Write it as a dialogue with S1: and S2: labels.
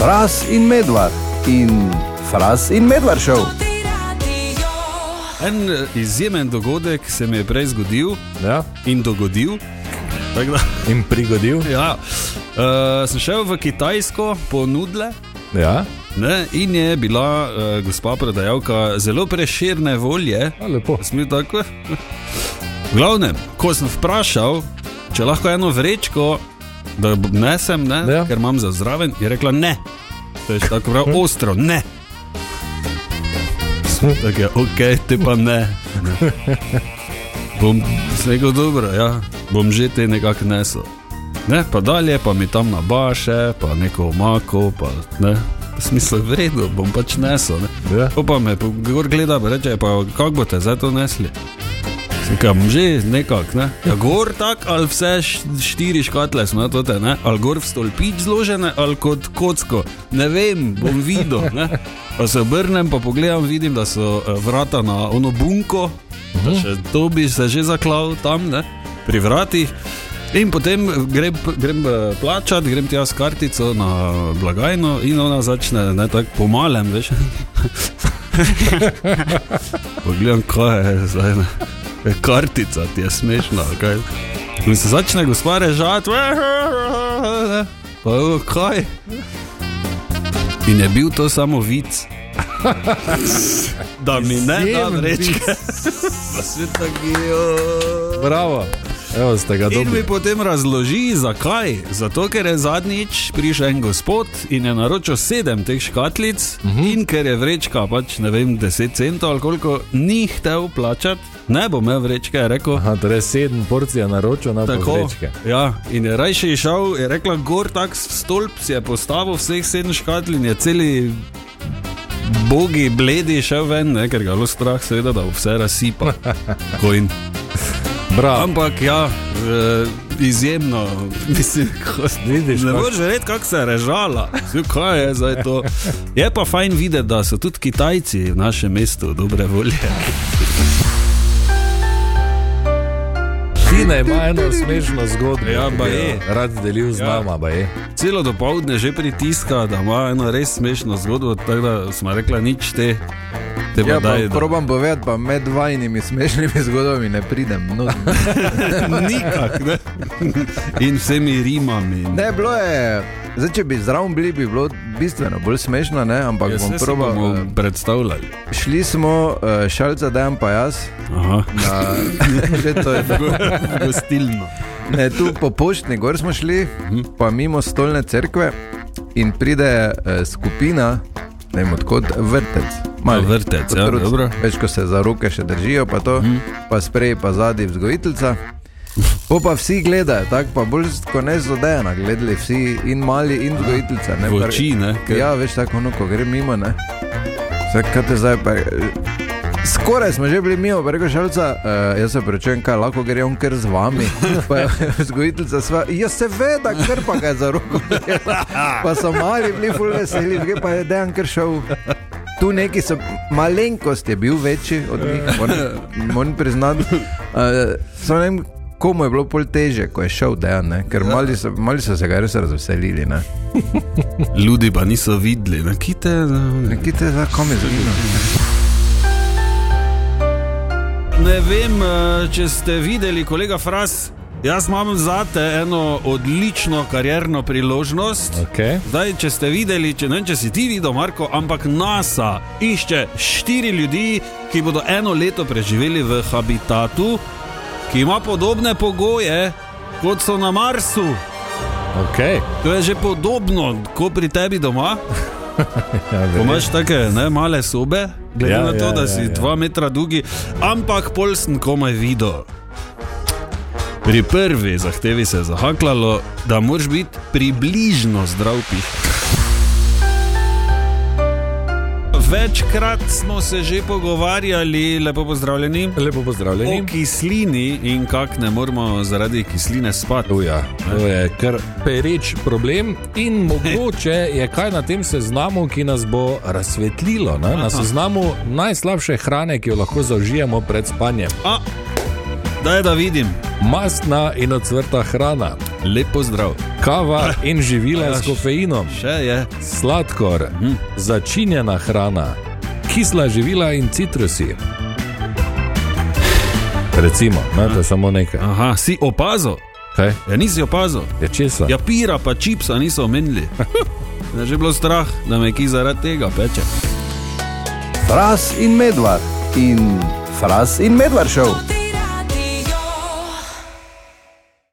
S1: Fras in medvard in Fras in medvard šel.
S2: En e, izjemen dogodek se mi je prej zgodil
S3: Ja,
S2: in dogodil. Tako Da,
S3: in prigodil.
S2: ja. uh, sem šel v Kitajsko po nudle.
S3: Ja,
S2: Ne, in je bila uh, gospa prodajalka zelo preširne volje,
S3: A, lepo.
S2: Smil tako. Glavne, ko sem vprašal, če lahko eno vrečko, da b- nesem, ne, ja.
S3: Ja.
S2: ker imam za zraven, je rekla ne. To je še tako prav ostro, ne. Sem Tako je, ok, ti pa ne. Ne. Bom rekel dobro, ja, bom že te nekako nesel. Ne, pa dalje, pa mi tam nabaše, pa neko omako, pa ne. Smisel je v redu, bom pač nesel. Ne.
S3: Ja.
S2: Pol Pa me po- gor gleda in reče, pa kako boste zdaj to nesli? Kam že nekako, ne? Ja, gor tak ali vse š- štiri škatle smo, to te, ne? Ali gor v stolpič zložene, ali kot kocko. Ne vem, bom videl, ne? Pa se obrnem, pa pogledam, vidim, da so eh, vrata na ono bunko,
S3: Mhm.
S2: da še to bi se že zaklal tam, ne? Pri vratih. In potem grem, grem eh, plačat, grem tja s kartico na blagajno in ona začne, ne tako pomalem, veš. Poglejam, kaj je zdaj. Ne? Kartica ti je smešna, ali kaj. In se začne gospa režati, pa je, kaj. In je bil to samo vic. Da mi ne da
S3: Izjemen
S2: reči,
S3: vic.
S2: da se tako je.
S3: Bravo, evo ste ga
S2: In mi
S3: dobili.
S2: potem razloži, zakaj. Zato, ker je zadnjič prišel en gospod in je naročil sedem teh škatlic, uh
S3: Mhm.
S2: -huh. in ker je vrečka, pač ne vem, 10 centov ali koliko, ni hotel plačati, ne bom imel vrečke, je rekel.
S3: Aha, torej sedem porcij je naročil na
S2: Tako,
S3: povrečke.
S2: ja, in je rajši išel, je rekla, gor tak stolp si je postavil vseh sedem škatl in je celi bogi, bledi šel ven, ne, ker ga je bilo strah, seveda, da bo vse razsipa. Kojn.
S3: Bravo,
S2: Ampak ja, eh, izjemno, mislim, ko
S3: vidiš,
S2: Ne
S3: kak-
S2: moreš verjeti, kako se je režala. Zdaj, Kaj je zdaj to? Je pa fajn videti, da so tudi Kitajci v našem mestu dobre volje.
S3: Tina ima eno smešno zgodbo.
S2: Ja,
S3: ki bi
S2: baje.
S3: jo Rad delil z
S2: Ja.
S3: nama, baje.
S2: Celo dopoledne že pritiska, da ima eno res smešno zgodbo, tako da smo rekla nič te. Te
S1: Ja,
S2: pa
S1: pa
S2: daj, da-
S1: probam povedati, pa med vajnimi smešnimi zgodbami ne pridem. No.
S2: Nikak, ne? In vsemi rimami.
S1: Ne, bilo je, zdaj če bi zraven bili, bi bilo bistveno bolj smešno, ne? ampak
S2: Jaz
S1: bom
S2: Ja, se si
S1: probal.
S2: bomo
S1: eh,
S2: predstavljali.
S1: Šli smo, eh, šalca dajem pa jaz,
S2: Aha.
S1: na, že to je
S2: Gostilno.
S1: Ne, tu po poštni gor smo šli,
S2: Mhm.
S1: pa mimo stolne cerkve in pride eh, skupina, ne vem odkot, vrtec. Mali,
S2: Ja, vrtec, ja,
S1: otroci.
S2: dobro. Mhm.
S1: Več, ko se za roke še držijo, pa to, pa sprej, pa zadnji vzgojiteljica. Po pa vsi gledajo, tako pa bolj kot ne zodejena, gledali vsi in mali in vzgojiteljica. ne,
S2: v
S1: kar-
S2: oči, ne, ker-
S1: Ja, veš tako, ono, ko gre mimo, ne. Vsak, kaj te zdaj pa... eh, Skoraj smo že bili mimo, pa je rekel šalca, uh, jaz se prečujem, kaj lahko gre on kar z vami. Pa je vzgojiteljica sva, ja seveda, kar pa ga je za roko. prijela." Pa so mali bili ful veseli, gre pa je dejan kar šel. Tu neki so, malenkost je bil večji od njih, moram priznati. Uh, Samo ne vem, komu je bilo pol teže, ko je šel dejan, ne? ker mali so, mali so se ga res razveselili. Ne?
S2: Ljudje pa niso videli, ne kite. Ne.
S1: Nekaj te za kom je zanimivo.
S2: Ne vem, eh, če ste videli, kolega Fras, jaz imam za te eno odlično karjerno priložnost.
S3: Okay.
S2: Zdaj, če ste videli, če ne vem, če si ti videl, Marko, ampak NASA išče štiri ljudi, ki bodo eno leto preživeli v habitatu, ki ima podobne pogoje kot so na Marsu.
S3: Okay.
S2: To je že podobno kot pri tebi doma.
S3: Ja,
S2: Ko
S3: verjetno.
S2: imaš take ne, male sobe, glede ja,
S3: Ja,
S2: na to, ja,
S3: ja,
S2: da
S3: ja,
S2: si ja,
S3: ja.
S2: dva metra dolgi, ampak pol sem komaj videl. Pri prvi zahtevi se je zahaklalo, da moraš biti približno zdrav pih. Večkrat smo se že pogovarjali, lepo pozdravljeni,
S3: Lepo pozdravljeni.
S2: o kislini in kako ne moramo zaradi kisline spati.
S3: Uja, to je kar pereč problem in mogoče je kaj na tem seznamu, ki nas bo razsvetlilo. Ne? Na seznamu najslabše hrane, ki jo lahko zaužijemo pred spanjem.
S2: A, daj da vidim.
S3: Mastna in ocvrta hrana,
S2: lepo zdrav.
S3: Kava in živila s kofeinom,
S2: Še je.
S3: sladkor, začinjena hrana, kisla živila in citrusi. Recimo, ne, to je samo nekaj.
S2: Aha, si opazil?
S3: Kaj?
S2: Ja, nisi opazil.
S3: Je česa?
S2: Ja, pira pa čipsa niso omenili. Da je že bilo strah, da me ki zaradi tega peče.
S1: Fras in medvard in fras in medvard šel.
S4: Toti